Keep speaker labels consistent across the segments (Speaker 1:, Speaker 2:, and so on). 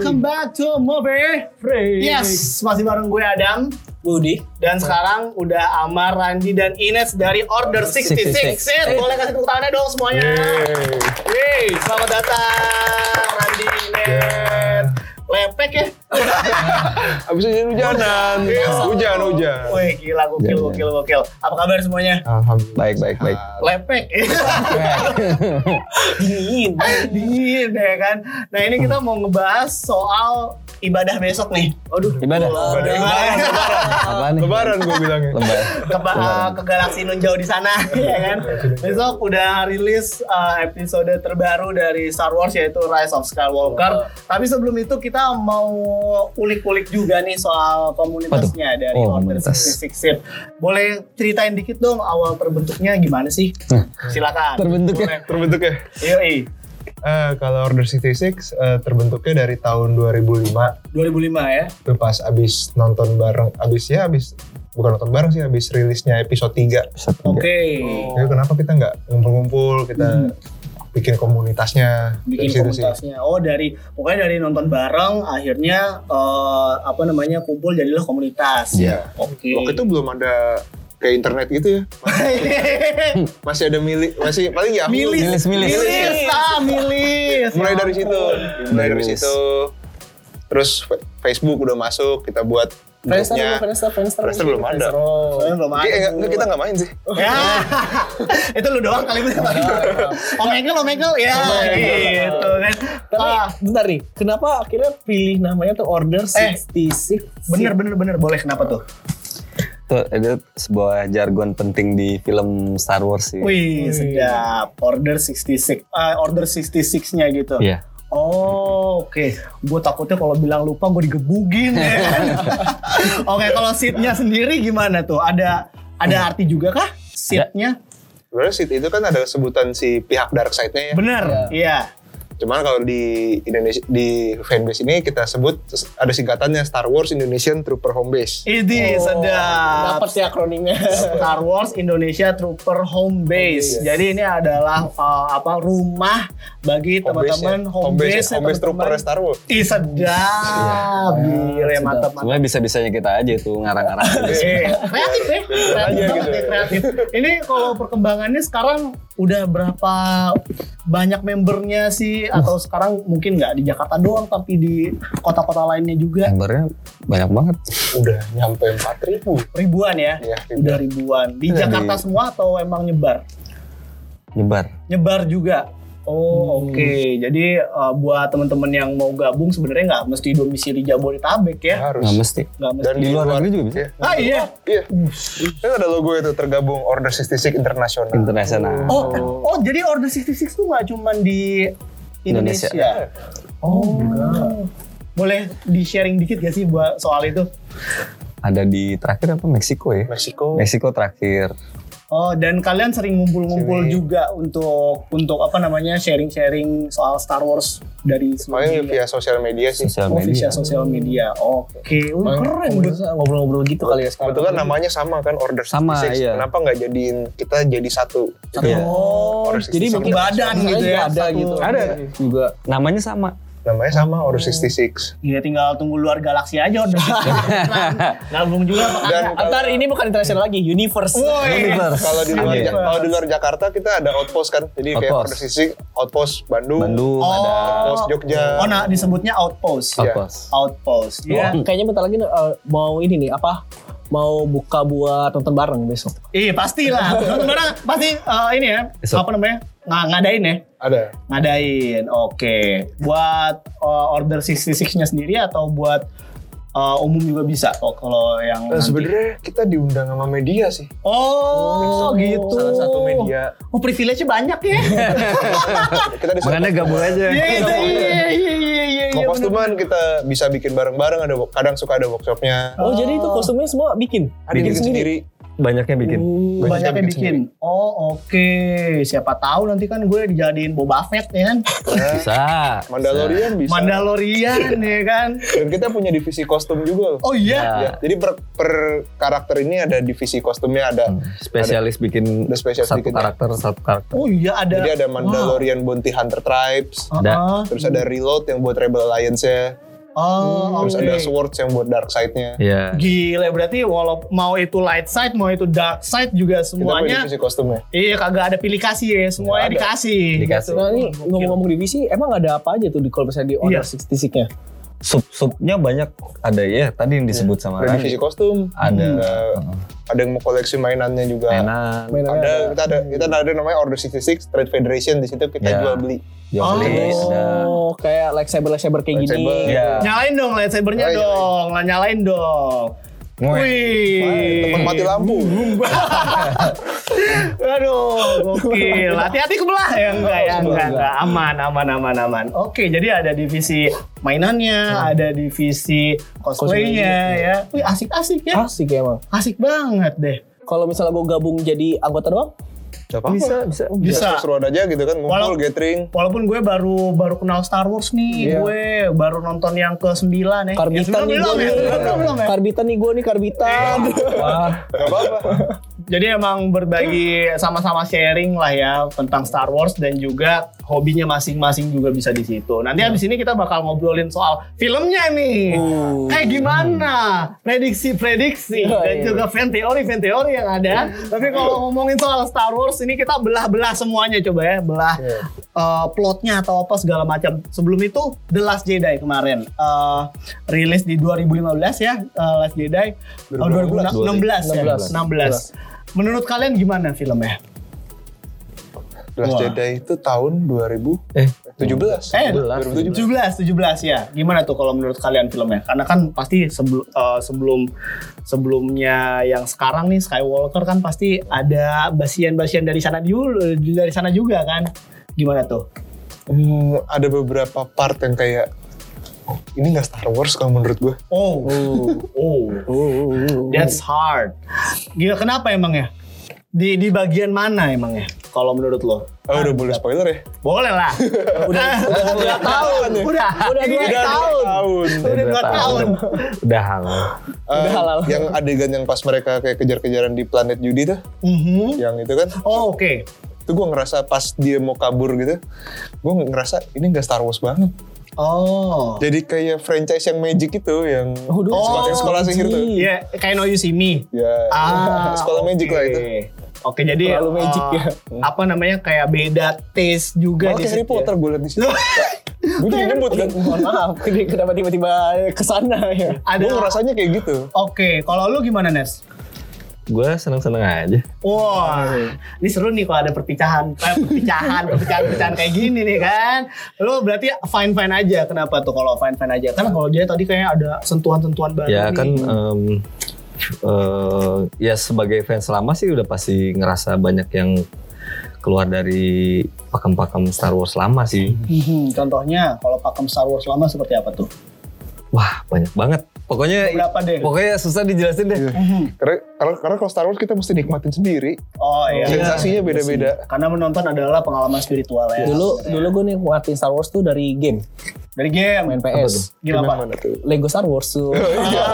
Speaker 1: to Movie
Speaker 2: Free.
Speaker 1: Yes, masih bareng gue Adam
Speaker 3: Budi.
Speaker 1: dan sekarang udah Amar, Randi dan Ines dari Order 66.
Speaker 3: 66.
Speaker 1: Sit, boleh kasih tepuk tangannya dong semuanya. Yeay, selamat datang Randi, Ines.
Speaker 2: Yeah.
Speaker 1: Lepek ya.
Speaker 2: Abis itu jadi hujanan. Hujan, hujan.
Speaker 1: Wih, gila gokil
Speaker 4: Iya, iya.
Speaker 1: gokil gokil. Apa kabar semuanya?
Speaker 2: Alhamdulillah.
Speaker 4: Baik, baik,
Speaker 1: Ah.
Speaker 4: baik.
Speaker 1: Lepek. dingin, dingin ya kan. Nah, ini kita mau ngebahas soal ibadah besok nih. Aduh,
Speaker 4: Ibadah.
Speaker 2: Ibadah.
Speaker 1: Lebaran, lebaran.
Speaker 4: Apa nih?
Speaker 2: Lebaran gue bilangnya.
Speaker 4: Lebar.
Speaker 1: ke,
Speaker 4: Iya.
Speaker 1: ba- ke galaksi nun jauh di sana ya kan. Besok udah rilis uh, episode terbaru dari Star Wars yaitu Rise of
Speaker 4: Iya.
Speaker 1: Skywalker. Tapi sebelum itu kita mau ulik-ulik juga nih soal komunitasnya dari
Speaker 4: Oh,
Speaker 1: Order
Speaker 4: komunitas.
Speaker 1: 66 Sith. Boleh ceritain dikit dong awal terbentuknya gimana sih?
Speaker 4: Nah.
Speaker 1: Silakan. Boleh.
Speaker 4: Terbentuknya.
Speaker 2: Terbentuknya.
Speaker 1: Yoi,
Speaker 2: Eh, kalau Order 66 eh, terbentuknya dari tahun
Speaker 1: 2005
Speaker 2: 2005.
Speaker 4: Iya.
Speaker 1: ya.
Speaker 2: Itu pas abis nonton bareng, abis ya abis bukan nonton bareng sih abis rilisnya episode 3
Speaker 4: Satu,
Speaker 1: Oke.
Speaker 4: tiga. Oh.
Speaker 2: Jadi kenapa kita nggak ngumpul-ngumpul, kita bikin komunitasnya.
Speaker 1: bikin
Speaker 2: Dari situ sih.
Speaker 1: komunitasnya. Oh dari pokoknya dari nonton bareng akhirnya eh, apa namanya kumpul jadilah komunitas.
Speaker 4: Iya.
Speaker 1: Oke.
Speaker 2: Waktu itu belum ada kayak internet gitu ya. Masih ada milik, masih paling ya aku-
Speaker 1: milis,
Speaker 4: Milis, milis.
Speaker 1: milis, ah, milis.
Speaker 2: mulai
Speaker 1: Ya
Speaker 2: dari situ,
Speaker 1: ampun.
Speaker 2: mulai dari
Speaker 4: Milis.
Speaker 2: situ. Terus Fe- Facebook udah masuk, kita buat
Speaker 3: Friendster,
Speaker 2: grupnya.
Speaker 3: Friendster, Friendster.
Speaker 2: Friendster belum ada.
Speaker 1: Soalnya belum ada.
Speaker 2: Jadi, eh, enggak, kita nggak main sih.
Speaker 1: Ya, itu lu doang kali ini. Omegel, omegel, ya gitu kan.
Speaker 3: Tapi
Speaker 1: Ah,
Speaker 3: bentar nih, kenapa akhirnya pilih namanya tuh Order
Speaker 1: Eh,
Speaker 3: 66?
Speaker 1: bener, bener, bener. Boleh kenapa tuh?
Speaker 4: Itu itu sebuah jargon penting di film Star Wars sih.
Speaker 1: Wih, sedap. Order 66. eh, order 66-nya gitu.
Speaker 4: Iya.
Speaker 1: Oh, oke. Gue takutnya kalau bilang lupa gue digebugin. ya kan? oke, kalau seatnya sendiri gimana tuh? Ada ada arti juga kah seatnya?
Speaker 2: Sebenarnya sih itu kan ada sebutan si pihak dark side-nya ya.
Speaker 1: Bener, iya.
Speaker 2: Cuman kalau di Indonesia di fanbase ini kita sebut ada singkatannya Star Wars Indonesian Trooper Home Base.
Speaker 1: Iya.
Speaker 3: Oh.
Speaker 1: Ini sedap.
Speaker 3: Dapat sih akronimnya.
Speaker 1: Star Wars Indonesia Trooper Home Base.
Speaker 2: Home base.
Speaker 1: Jadi ini adalah uh, apa rumah bagi
Speaker 2: Home base-nya.
Speaker 1: teman-teman
Speaker 2: home
Speaker 1: home
Speaker 2: base,
Speaker 1: base, ya,
Speaker 2: home
Speaker 1: teman-teman.
Speaker 2: base trooper Iya. Star Wars.
Speaker 1: Ih sedap, gila ya, mantap mantap.
Speaker 4: Sebenarnya bisa-bisanya kita aja tuh ngarang-ngarang.
Speaker 2: Iya.
Speaker 1: Eh, kreatif ya, kreatif banget
Speaker 2: Aja gitu.
Speaker 1: ya, kreatif. Ini kalau perkembangannya sekarang udah berapa banyak membernya sih atau sekarang mungkin nggak di Jakarta doang tapi di kota-kota lainnya juga
Speaker 4: Gambarnya banyak banget.
Speaker 2: Udah nyampe 4000.
Speaker 1: ribuan ya?
Speaker 2: Iya, ribuan.
Speaker 1: Udah ribuan. Di
Speaker 4: Iya,
Speaker 1: Jakarta
Speaker 4: di-
Speaker 1: semua atau emang nyebar?
Speaker 4: Nyebar.
Speaker 1: Nyebar juga. Oh oke, jadi eh, buat temen-temen yang mau gabung sebenarnya nggak mesti domisili Jabodetabek ya?
Speaker 2: Harus.
Speaker 4: Nggak mesti.
Speaker 1: Nggak mesti.
Speaker 2: Dan
Speaker 4: Nah, Di luar negeri juga bisa.
Speaker 2: Iya.
Speaker 1: Ah iya.
Speaker 2: Iya. Itu ada logo itu tergabung Order 66 Internasional.
Speaker 4: Internasional.
Speaker 1: Oh, oh jadi Order 66 tuh nggak cuma di Indonesia.
Speaker 4: Indonesia.
Speaker 1: Oh. Boleh di-sharing dikit gak sih buat soal itu?
Speaker 4: Ada di terakhir apa Meksiko ya?
Speaker 2: Meksiko.
Speaker 4: Meksiko terakhir.
Speaker 1: Oh, dan kalian sering ngumpul-ngumpul
Speaker 2: Sering.
Speaker 1: juga untuk untuk apa namanya sharing-sharing soal Star Wars dari
Speaker 2: Paling
Speaker 1: seluruh
Speaker 2: via sosial media sih.
Speaker 4: Sosial
Speaker 1: Oh, via
Speaker 4: media.
Speaker 1: sosial media. Oke, Wih, keren
Speaker 3: Ngobrol-
Speaker 1: Bud.
Speaker 3: Ngobrol-ngobrol gitu kali ya sekarang.
Speaker 2: Kebetulan namanya sama kan Order 66.
Speaker 4: Hmm. Sama, iya.
Speaker 2: Kenapa nggak jadiin kita jadi satu? Gitu.
Speaker 4: Iya.
Speaker 3: Oh,
Speaker 2: Order
Speaker 3: jadi
Speaker 2: 66.
Speaker 3: mungkin
Speaker 1: Badan
Speaker 3: Satu
Speaker 1: gitu ya,
Speaker 3: Ada
Speaker 1: satu-
Speaker 3: gitu.
Speaker 4: Ada juga namanya sama.
Speaker 2: Namanya sama Order 66.
Speaker 1: Ya tinggal tunggu luar galaksi aja Order 66. Gabung juga apa
Speaker 2: Dan
Speaker 1: kagak?
Speaker 3: Antar ini bukan internasional lagi, universe.
Speaker 1: Woi.
Speaker 4: Universe.
Speaker 2: Kalau di luar
Speaker 4: Iya.
Speaker 2: Ja- kalau di luar Jakarta kita ada outpost kan. Jadi kayak
Speaker 4: Outpost.
Speaker 2: Order 66 outpost Bandung.
Speaker 4: Bandung
Speaker 1: Oh.
Speaker 4: ada
Speaker 2: Outpost Jogja.
Speaker 1: Oh, nah disebutnya outpost.
Speaker 2: Iya.
Speaker 4: Outpost.
Speaker 1: Outpost.
Speaker 3: Wah,
Speaker 1: Iya.
Speaker 3: Kayaknya bentar lagi eh, mau ini nih apa? Mau buka buat nonton bareng besok.
Speaker 1: Iya pasti lah. Nonton bareng pasti eh, ini ya
Speaker 4: Besok.
Speaker 1: apa namanya ng- ngadain ya.
Speaker 2: Ada.
Speaker 1: Ngadain. Oke. Buat eh, order 66-nya sendiri atau buat eh, umum juga bisa kok kalau yang
Speaker 2: Nah,
Speaker 1: nanti.
Speaker 2: sebenarnya kita diundang sama media sih.
Speaker 1: Oh, gitu.
Speaker 2: Salah satu media.
Speaker 1: Oh privilege banyak ya.
Speaker 2: Kita di
Speaker 4: Makanya gabung aja.
Speaker 1: Iya iya iya iya iya iya.
Speaker 2: Mau kostuman kita bisa bikin bareng-bareng ada kadang suka ada workshopnya.
Speaker 3: Oh, jadi itu kostumnya semua bikin.
Speaker 2: Ada bikin sendiri.
Speaker 4: Banyaknya bikin.
Speaker 2: Iya.
Speaker 3: Oh,
Speaker 2: Banyak
Speaker 1: Banyaknya
Speaker 2: yang bikin
Speaker 1: bikin. Oh oke. Siapa tahu nanti kan gue dijadiin Boba Fett ya kan.
Speaker 4: Bisa.
Speaker 2: Nah, Mandalorian bisa.
Speaker 1: Mandalorian ya kan.
Speaker 2: Dan kita punya divisi kostum juga loh.
Speaker 1: Oh
Speaker 4: Ah.
Speaker 1: iya.
Speaker 2: Ya, jadi per, per karakter ini ada divisi kostumnya ada.
Speaker 4: Hmm. spesialis bikin
Speaker 2: Ada spesialis
Speaker 4: satu
Speaker 2: bikin ya.
Speaker 4: karakter satu karakter
Speaker 1: Oh iya ada. Ah, Oh.
Speaker 2: Jadi ada Mandalorian Bounty Hunter Tribes,
Speaker 4: Ada.
Speaker 1: Heeh.
Speaker 2: terus ada Reload yang buat Rebel Alliance ya.
Speaker 1: Oh,
Speaker 2: Terus
Speaker 1: oke.
Speaker 2: ada swords yang buat dark side-nya.
Speaker 4: Iya.
Speaker 1: Gila berarti walau mau itu light side mau itu dark side juga
Speaker 2: Kita punya
Speaker 1: semuanya
Speaker 2: divisi kostumnya.
Speaker 1: iya kagak ada pilih kasih ya semuanya
Speaker 2: Nggak ada.
Speaker 1: dikasih.
Speaker 4: Dikasih.
Speaker 1: Gitu.
Speaker 3: Nah ini
Speaker 1: Gokil.
Speaker 3: ngomong-ngomong divisi, emang ada apa aja tuh di kalau misalnya di Order
Speaker 1: Iya.
Speaker 3: 66-nya?
Speaker 4: Sub-subnya banyak ada ya tadi yang disebut sama
Speaker 2: Ada divisi
Speaker 4: Rani.
Speaker 2: kostum.
Speaker 4: Ada Hmm.
Speaker 2: Ada- ada yang mau koleksi mainannya juga.
Speaker 4: mainan,
Speaker 3: Mainannya
Speaker 2: Ada, kita ada kita ada namanya Order 66 Trade Federation di situ kita
Speaker 4: Ya.
Speaker 2: jual beli.
Speaker 4: jual
Speaker 1: Oh.
Speaker 4: beli, Iya, ada
Speaker 3: Oh, kayak lightsaber lightsaber kayak gini.
Speaker 2: Lightsaber.
Speaker 4: Iya.
Speaker 1: Nyalain dong lightsabernya
Speaker 2: Nyalain,
Speaker 1: dong, lah nyalain dong.
Speaker 4: Ngwe.
Speaker 1: Wih,
Speaker 2: Teman mati lampu.
Speaker 1: Hmm. Aduh, gokil. Hati-hati kebelah ya enggak ya, enggak, enggak. Aman, aman, aman, aman. Oke, jadi ada divisi mainannya, ada divisi Hmm. cosplaynya ya. Wih, asik-asik ya.
Speaker 3: Asik ya emang.
Speaker 1: Asik banget deh.
Speaker 3: Kalau misalnya gue gabung jadi anggota doang,
Speaker 1: Eh, ya
Speaker 2: Bisa
Speaker 4: bisa.
Speaker 1: Bisa.
Speaker 2: Ya, Seru aja gitu kan ngumpul
Speaker 1: Walau-
Speaker 2: gathering.
Speaker 1: Walaupun gue baru baru kenal Star Wars nih,
Speaker 3: Iya.
Speaker 1: gue baru nonton yang ke-9 ya. ya, sembilan
Speaker 3: karbitan nih
Speaker 1: belum
Speaker 3: gue
Speaker 1: ya,
Speaker 3: nih.
Speaker 1: sembilan belum, belum ya. Eh,
Speaker 3: Karbitan nih gue nih karbitan.
Speaker 4: Wah,
Speaker 2: Gak apa-apa.
Speaker 1: Jadi emang berbagi sama-sama sharing lah ya tentang Star Wars dan juga hobinya masing-masing juga bisa di situ. Nanti
Speaker 3: Hmm.
Speaker 1: habis ini kita bakal ngobrolin soal filmnya nih.
Speaker 3: Uh.
Speaker 1: Kayak gimana prediksi-prediksi
Speaker 3: Iya,
Speaker 1: dan
Speaker 3: iya.
Speaker 1: juga fan teori-fan teori yang ada. Tapi kalau ngomongin soal Star Wars ini kita belah-belah semuanya coba ya, belah
Speaker 3: Iya.
Speaker 1: eh, plotnya atau apa segala macam. Sebelum itu The Last Jedi kemarin eh, rilis di 2015 ya, eh, Last Jedi. Oh, 2016,
Speaker 3: 2016.
Speaker 1: ya, 16. Menurut kalian gimana filmnya?
Speaker 2: Last
Speaker 1: Wah.
Speaker 2: Jedi itu tahun 2017.
Speaker 4: eh
Speaker 1: 17,
Speaker 2: 2017.
Speaker 1: 17 ya. Gimana tuh kalau menurut kalian filmnya? Karena kan pasti sebelum sebelum sebelumnya yang sekarang nih Skywalker kan pasti ada basian-basian dari sana dulu dari sana juga kan. Gimana tuh?
Speaker 2: Hmm, ada beberapa part yang kayak ini nggak Star Wars kalau menurut gue.
Speaker 1: Oh, oh, that's hard. Gila kenapa emang ya? Di di bagian mana emang ya? Kalau menurut lo?
Speaker 2: Oh, udah boleh spoiler ya?
Speaker 1: Boleh lah. udah udah dua tahun. Udah udah dua Iya, tahun.
Speaker 2: Tahun.
Speaker 1: Udah dua tahun.
Speaker 4: Udah halal.
Speaker 2: Eh,
Speaker 3: halal.
Speaker 2: yang adegan yang pas mereka kayak kejar-kejaran di planet Judi tuh,
Speaker 1: Mhm.
Speaker 2: yang itu kan,
Speaker 1: Oh, Oke.
Speaker 2: itu gue ngerasa pas dia mau kabur gitu, gue ngerasa ini nggak Star Wars banget.
Speaker 1: Oh.
Speaker 2: Jadi kayak franchise yang Magic itu, yang
Speaker 3: Aduh,
Speaker 2: sekolah,
Speaker 1: oh,
Speaker 2: sekolah sihir tuh.
Speaker 1: Iya, kayak No You See Me.
Speaker 2: Ya,
Speaker 1: Ah,
Speaker 2: sekolah
Speaker 1: oke.
Speaker 2: Magic lah itu.
Speaker 1: Oke, jadi
Speaker 3: Terlalu
Speaker 1: eh,
Speaker 3: magic ya.
Speaker 1: Apa namanya kayak beda taste juga
Speaker 2: Malah kayak
Speaker 1: situ
Speaker 2: Harry
Speaker 1: ya.
Speaker 2: Potter gue liat di situ. gue jadi nyebut kan.
Speaker 3: Eh, Mohon maaf, ini kenapa tiba-tiba kesana ya?
Speaker 1: Ada
Speaker 2: Gue ngerasanya kayak gitu.
Speaker 1: Oke, kalau lu gimana, Nes?
Speaker 4: Gue seneng-seneng aja.
Speaker 1: Wah, ini seru nih kalau ada perpecahan, eh, perpecahan, perpecahan, perpecahan kayak gini nih kan. Lu berarti fine fine aja. Kenapa tuh kalau fine fine aja? Karena kalau dia tadi kayak ada sentuhan-sentuhan baru. nih.
Speaker 4: ya kan em, eh, ya sebagai fans lama sih udah pasti ngerasa banyak yang keluar dari pakem-pakem Star Wars lama sih.
Speaker 1: Mhm, contohnya kalau pakem Star Wars lama seperti apa tuh?
Speaker 4: Wah, banyak banget. Pokoknya
Speaker 1: Berapa deh?
Speaker 4: pokoknya susah dijelasin
Speaker 2: Iya.
Speaker 4: deh.
Speaker 1: Mhm.
Speaker 2: Karena, karena, karena kalau Star Wars kita mesti nikmatin sendiri.
Speaker 1: Oh iya.
Speaker 2: Sensasinya beda-beda.
Speaker 1: Karena menonton adalah pengalaman spiritual ya.
Speaker 3: Dulu dulu gue nih nguatin Star Wars tuh dari game,
Speaker 1: dari game
Speaker 3: main
Speaker 4: tuh?
Speaker 3: PS.
Speaker 1: gila
Speaker 2: Gimana
Speaker 1: pak. Ah.
Speaker 2: mana tuh?
Speaker 3: Lego Star Wars tuh.
Speaker 2: Iya.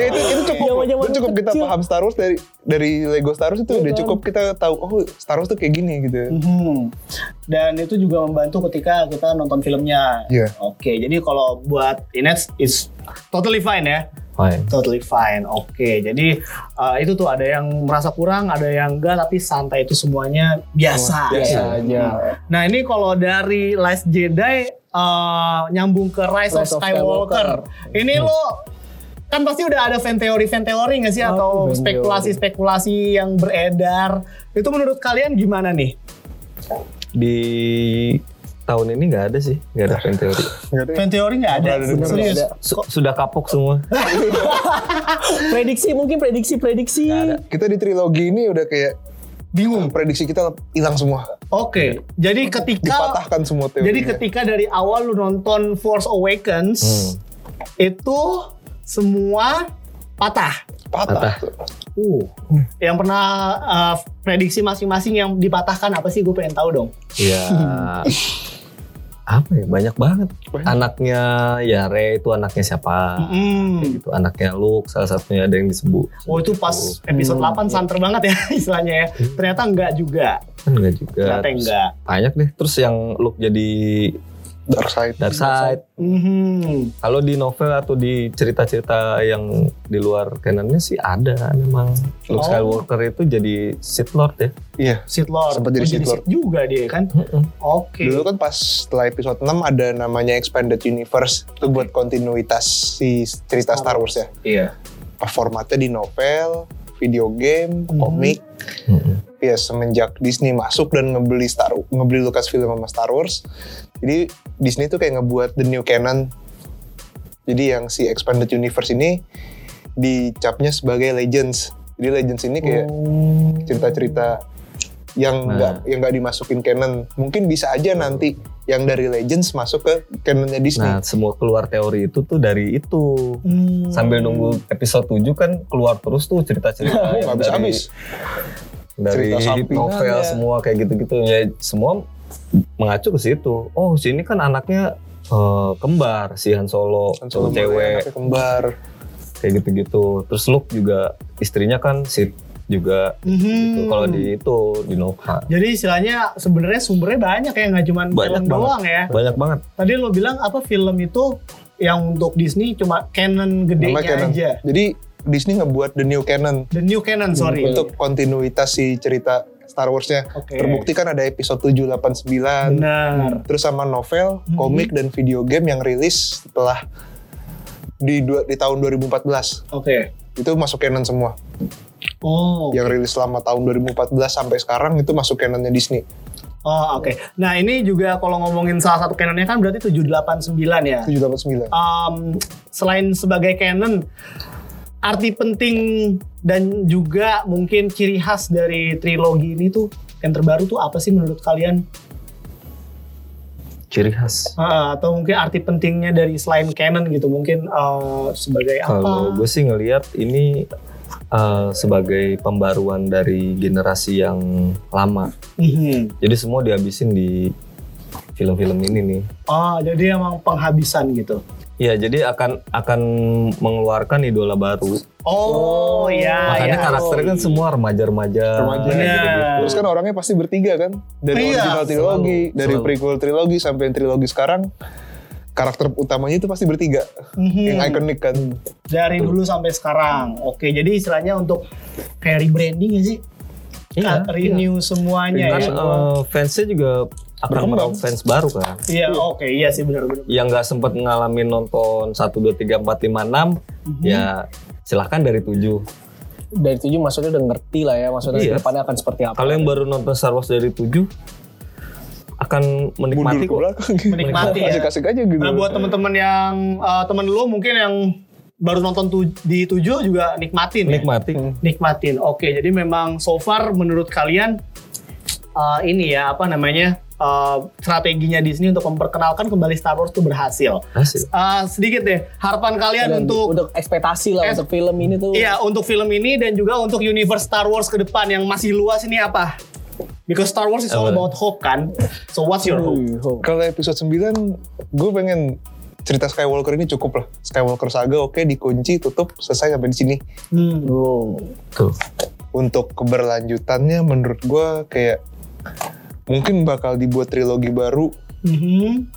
Speaker 2: ya itu itu cukup
Speaker 3: Jaman-jaman
Speaker 2: itu cukup kita
Speaker 3: kecil.
Speaker 2: paham Star Wars dari dari Lego Star Wars itu udah cukup kita tahu oh Star Wars tuh kayak gini gitu.
Speaker 1: Mhm. Dan itu juga membantu ketika kita nonton filmnya.
Speaker 2: Iya.
Speaker 1: Oke, jadi kalau buat Ines is totally fine ya.
Speaker 4: Fine.
Speaker 1: Totally fine. Oke, jadi uh, itu tuh ada yang merasa kurang, ada yang enggak, tapi santai itu semuanya biasa.
Speaker 3: biasa
Speaker 1: Ya.
Speaker 3: aja.
Speaker 1: Nah ini kalau dari Last Jedi eh, nyambung ke Rise,
Speaker 3: Rise
Speaker 1: of
Speaker 3: of
Speaker 1: Skywalker. Ini lo kan pasti udah ada fan teori fan teori nggak sih
Speaker 3: Aduh,
Speaker 1: atau
Speaker 3: fan
Speaker 1: spekulasi spekulasi yang beredar. Itu menurut kalian gimana nih?
Speaker 4: Di tahun ini nggak ada sih, nggak ada fan teori.
Speaker 2: Nggak ada.
Speaker 1: Fan teori nggak ada.
Speaker 2: Nggak ada, nggak
Speaker 1: Serius.
Speaker 3: ada.
Speaker 4: Su- sudah kapok semua.
Speaker 3: Prediksi mungkin prediksi prediksi.
Speaker 2: Kita di trilogi ini udah kayak bingung prediksi kita hilang semua.
Speaker 1: Oke. Jadi ketika
Speaker 2: Dipatahkan semua teori.
Speaker 1: jadi ketika dari awal lu nonton Force Awakens
Speaker 4: Hmm.
Speaker 1: itu semua patah.
Speaker 2: patah.
Speaker 1: Uh. Yang pernah uh, prediksi masing-masing yang dipatahkan apa sih? Gue pengen tahu dong.
Speaker 4: Ya apa ya banyak banget. Anaknya ya Rey itu anaknya siapa? Kayak
Speaker 1: Mm.
Speaker 4: gitu anaknya Luke salah satunya ada yang disebut.
Speaker 1: Oh itu pas episode 8 santer banget ya istilahnya ya. Ternyata enggak juga.
Speaker 4: kan enggak
Speaker 1: Ternyata
Speaker 4: juga. Terus
Speaker 1: enggak.
Speaker 4: Banyak deh. Terus yang Luke jadi
Speaker 2: Dark Side.
Speaker 4: Dark Side.
Speaker 1: Mhm.
Speaker 4: Kalau di novel atau di cerita-cerita yang di luar canonnya sih ada memang.
Speaker 1: Oh.
Speaker 4: Luke Skywalker itu jadi Sith Lord ya.
Speaker 2: Iya.
Speaker 1: Sith Lord.
Speaker 2: Sempat jadi
Speaker 1: Oh,
Speaker 2: Sith Lord.
Speaker 1: Sith juga dia kan. Oke.
Speaker 2: Dulu kan pas setelah episode 6 ada namanya Expanded Universe itu buat kontinuitas si cerita Star Wars ya.
Speaker 1: Iya.
Speaker 2: Formatnya di novel, video game, komik.
Speaker 4: Mm-mm.
Speaker 2: Ya semenjak Disney masuk dan ngebeli Star ngebeli Lucasfilm sama Star Wars. Jadi Disney tuh kayak ngebuat the new canon. Jadi yang si Expanded Universe ini dicapnya sebagai Legends. Jadi Legends ini kayak cerita-cerita yang
Speaker 4: Nah.
Speaker 2: nggak yang nggak dimasukin canon mungkin bisa aja nanti yang dari Legends masuk ke canonnya Disney
Speaker 4: Nah, semua keluar teori itu tuh dari itu.
Speaker 1: Hmm.
Speaker 4: Sambil nunggu episode 7 kan keluar terus tuh cerita-cerita
Speaker 2: nggak
Speaker 4: yang
Speaker 2: habis
Speaker 4: dari-
Speaker 2: habis
Speaker 4: dari
Speaker 2: Cerita sampingan
Speaker 4: novel
Speaker 2: ya.
Speaker 4: semua kayak gitu-gitu ya semua mengacu ke situ. Oh, sini kan anaknya eh, kembar si Han Solo, Solo
Speaker 2: ya.
Speaker 4: cewek
Speaker 2: kembar
Speaker 4: kayak gitu-gitu. Terus Luke juga istrinya kan Sith juga
Speaker 1: Mhm.
Speaker 4: gitu. Kalau di itu di Nova
Speaker 1: Jadi istilahnya sebenarnya sumbernya banyak ya nggak cuma film
Speaker 4: Banyak banget.
Speaker 1: doang ya.
Speaker 4: banyak banget.
Speaker 1: Tadi lo bilang apa film itu yang untuk Disney cuma canon gedenya
Speaker 2: Namanya canon.
Speaker 1: aja.
Speaker 2: jadi Disney ngebuat the new canon
Speaker 1: The new canon sorry.
Speaker 2: untuk kontinuitas si cerita Star Wars-nya
Speaker 1: Oke.
Speaker 2: terbukti kan ada episode 789
Speaker 1: Benar.
Speaker 2: terus sama novel,
Speaker 1: Mhm.
Speaker 2: komik dan video game yang rilis setelah di dua, di tahun 2014
Speaker 1: Oke.
Speaker 2: itu masuk canon semua
Speaker 1: Oh.
Speaker 2: yang rilis selama tahun 2014 sampai sekarang itu masuk canonnya Disney.
Speaker 1: Oh,
Speaker 4: Iya.
Speaker 1: oke. Nah, ini juga kalau ngomongin salah satu canonnya kan berarti 789 ya.
Speaker 2: 789.
Speaker 1: Um, selain sebagai canon, arti penting dan juga mungkin ciri khas dari trilogi ini tuh yang terbaru tuh apa sih menurut kalian?
Speaker 4: Ciri khas.
Speaker 1: Ah, atau mungkin arti pentingnya dari selain canon gitu mungkin eh, sebagai
Speaker 4: Kalau
Speaker 1: apa?
Speaker 4: gue sih ngelihat ini eh, sebagai pembaruan dari generasi yang lama.
Speaker 1: Mhm.
Speaker 4: Jadi semua dihabisin di film-film ini nih.
Speaker 1: Oh, jadi emang penghabisan gitu.
Speaker 4: Iya, jadi akan akan mengeluarkan idola baru.
Speaker 1: Oh, ya
Speaker 4: Makanya
Speaker 1: ya.
Speaker 4: karakternya kan semua remaja-remaja.
Speaker 2: Ah, iya. Remaja.
Speaker 4: gitu-gitu.
Speaker 2: Terus kan orangnya pasti bertiga kan
Speaker 1: Iya,
Speaker 2: dari original
Speaker 4: selalu,
Speaker 2: trilogi, dari
Speaker 4: selalu.
Speaker 2: prequel trilogi sampai yang trilogi sekarang karakter utamanya itu pasti bertiga
Speaker 1: Mhm.
Speaker 2: yang ikonik kan.
Speaker 1: dari dulu sampai sekarang. Oke, jadi istilahnya untuk kayak rebranding ya sih,
Speaker 4: Iya,
Speaker 1: Ka- renew semuanya
Speaker 4: Kan
Speaker 1: ya.
Speaker 4: eh, fansnya juga akan
Speaker 2: Iya, Berkembang.
Speaker 4: meraup fans baru kan.
Speaker 1: Iya, oke, iya sih benar-benar.
Speaker 4: Yang nggak sempat ngalamin nonton 1, 2, 3, 4, 5, 6,
Speaker 2: Mhm.
Speaker 4: ya silahkan dari 7.
Speaker 3: dari tujuh maksudnya udah ngerti lah ya maksudnya
Speaker 4: Iya.
Speaker 3: depannya akan seperti apa
Speaker 4: Kalau yang baru nonton Star Wars dari 7, akan
Speaker 2: Mundur
Speaker 4: menikmati
Speaker 2: ke
Speaker 4: kok.
Speaker 2: belakang.
Speaker 1: Menikmati ya.
Speaker 2: Asik-asik aja gitu.
Speaker 1: Nah, buat temen-temen yang eh, temen lu mungkin yang baru nonton tu- di tujuh juga nikmatin. ya?
Speaker 4: Menikmati.
Speaker 2: Iya.
Speaker 1: Nikmatin. Oke, jadi memang so far menurut kalian eh, ini ya apa namanya? eh, strateginya Disney untuk memperkenalkan kembali Star Wars itu berhasil.
Speaker 4: Hasil.
Speaker 1: Eh, sedikit deh harapan kalian
Speaker 3: Dan
Speaker 1: untuk
Speaker 3: untuk ekspektasi lah
Speaker 1: Iya, Eh,
Speaker 3: untuk film ini tuh
Speaker 1: Iya, untuk film ini dan juga untuk universe Star Wars ke depan yang masih luas ini apa? Because Star Wars is all
Speaker 4: Apa?
Speaker 1: about hope kan. So what's your hope?
Speaker 3: Wih, oh.
Speaker 2: Kalau episode 9 gue pengen cerita Skywalker ini cukup lah. Skywalker saga oke dikunci, tutup, selesai sampai di sini.
Speaker 1: Hmm.
Speaker 3: Wow.
Speaker 4: Tuh.
Speaker 2: Untuk keberlanjutannya menurut gue kayak mungkin bakal dibuat trilogi baru
Speaker 1: Mhm.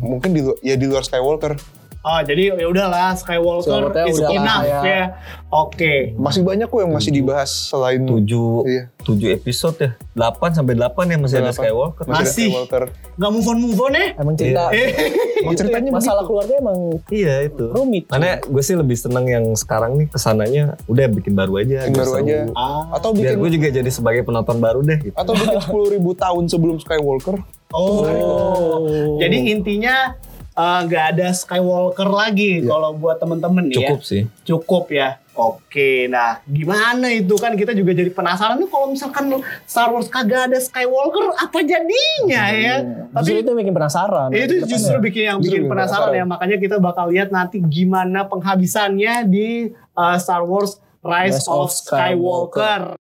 Speaker 2: mungkin di lu- ya di luar Skywalker
Speaker 1: Oh, jadi ya udahlah Skywalker
Speaker 3: Skywalker
Speaker 1: is
Speaker 3: udah
Speaker 1: enough
Speaker 3: kayak-
Speaker 1: ya. Oke.
Speaker 2: masih banyak kok yang masih dibahas selain
Speaker 4: 7
Speaker 2: Iya.
Speaker 4: 7 episode ya. 8 sampai 8 ya masih ada
Speaker 2: Delapan.
Speaker 4: Skywalker.
Speaker 2: masih, ada
Speaker 1: Masih.
Speaker 2: Skywalker
Speaker 1: Gak move on move on ya?
Speaker 3: emang cerita
Speaker 2: Iya. Emang ceritanya
Speaker 3: masalah keluarga emang
Speaker 4: Iya itu.
Speaker 3: rumit
Speaker 4: Makanya gue sih lebih seneng yang sekarang nih kesananya udah bikin baru aja. gitu.
Speaker 2: Bikin
Speaker 4: biar
Speaker 2: baru
Speaker 4: seru.
Speaker 2: aja.
Speaker 1: Ah.
Speaker 2: atau bikin
Speaker 4: Biar gue juga jadi sebagai penonton baru deh. Gitu.
Speaker 2: atau bikin sepuluh ribu tahun sebelum Skywalker
Speaker 1: Oh. Jadi intinya eh, nggak ada Skywalker lagi kalau buat temen-temen nih ya.
Speaker 4: Cukup sih.
Speaker 1: Cukup ya. Oke, nah gimana itu kan kita juga jadi penasaran tuh kalau misalkan Star Wars kagak ada Skywalker apa jadinya ya?
Speaker 3: Justru itu yang bikin penasaran
Speaker 1: itu justru bikin yang bikin
Speaker 2: Justru bikin
Speaker 1: penasaran, ya
Speaker 2: penasaran.
Speaker 1: makanya kita bakal lihat nanti gimana penghabisannya di uh, Star Wars Rise
Speaker 3: Rise
Speaker 1: of
Speaker 3: of
Speaker 1: Skywalker.